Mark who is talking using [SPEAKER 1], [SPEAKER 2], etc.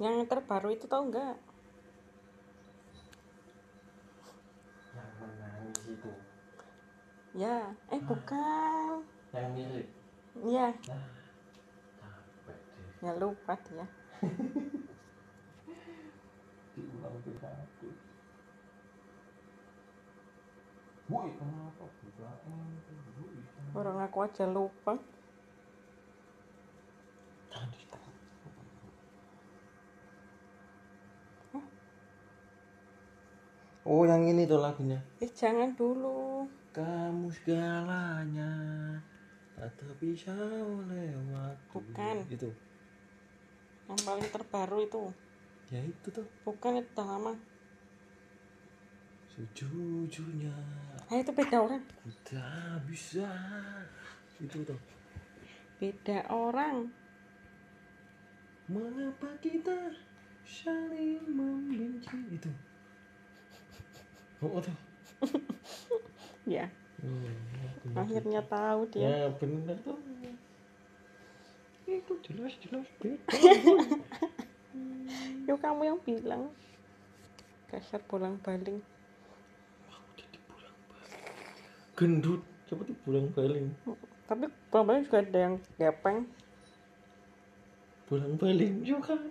[SPEAKER 1] Yang terbaru itu tahu nggak?
[SPEAKER 2] yang menangis itu
[SPEAKER 1] Ya, eh bukan.
[SPEAKER 2] yang mirip
[SPEAKER 1] Ya,
[SPEAKER 2] nah capek deh
[SPEAKER 1] ya lupa dia.
[SPEAKER 2] diulang ke satu woi kenapa buka woi
[SPEAKER 1] Orang aku aja lupa.
[SPEAKER 2] tadi Oh yang ini tuh lagunya
[SPEAKER 1] Eh jangan dulu.
[SPEAKER 2] Kamu segalanya Tak bisa lewat
[SPEAKER 1] Bukan.
[SPEAKER 2] Itu
[SPEAKER 1] Yang paling terbaru itu.
[SPEAKER 2] Ya itu tuh
[SPEAKER 1] Bukan itu udah lama.
[SPEAKER 2] Sejujurnya
[SPEAKER 1] Ah itu beda orang.
[SPEAKER 2] Aku tak bisa Itu tuh
[SPEAKER 1] Beda orang.
[SPEAKER 2] Mengapa kita saling membenci Itu Oh, oh tuh
[SPEAKER 1] Ya,
[SPEAKER 2] Hmm, aku-
[SPEAKER 1] akhirnya tahu
[SPEAKER 2] Ya
[SPEAKER 1] dia.
[SPEAKER 2] bener tuh. Itu jelas jelas beda.
[SPEAKER 1] Yo kamu yang bilang. Kasar bolang baling.
[SPEAKER 2] Aku jadi pulang balik. Gendut. Siapa tuh pulang balik?
[SPEAKER 1] Tapi bolang baling juga ada yang gepeng.
[SPEAKER 2] Pulang balik juga ada.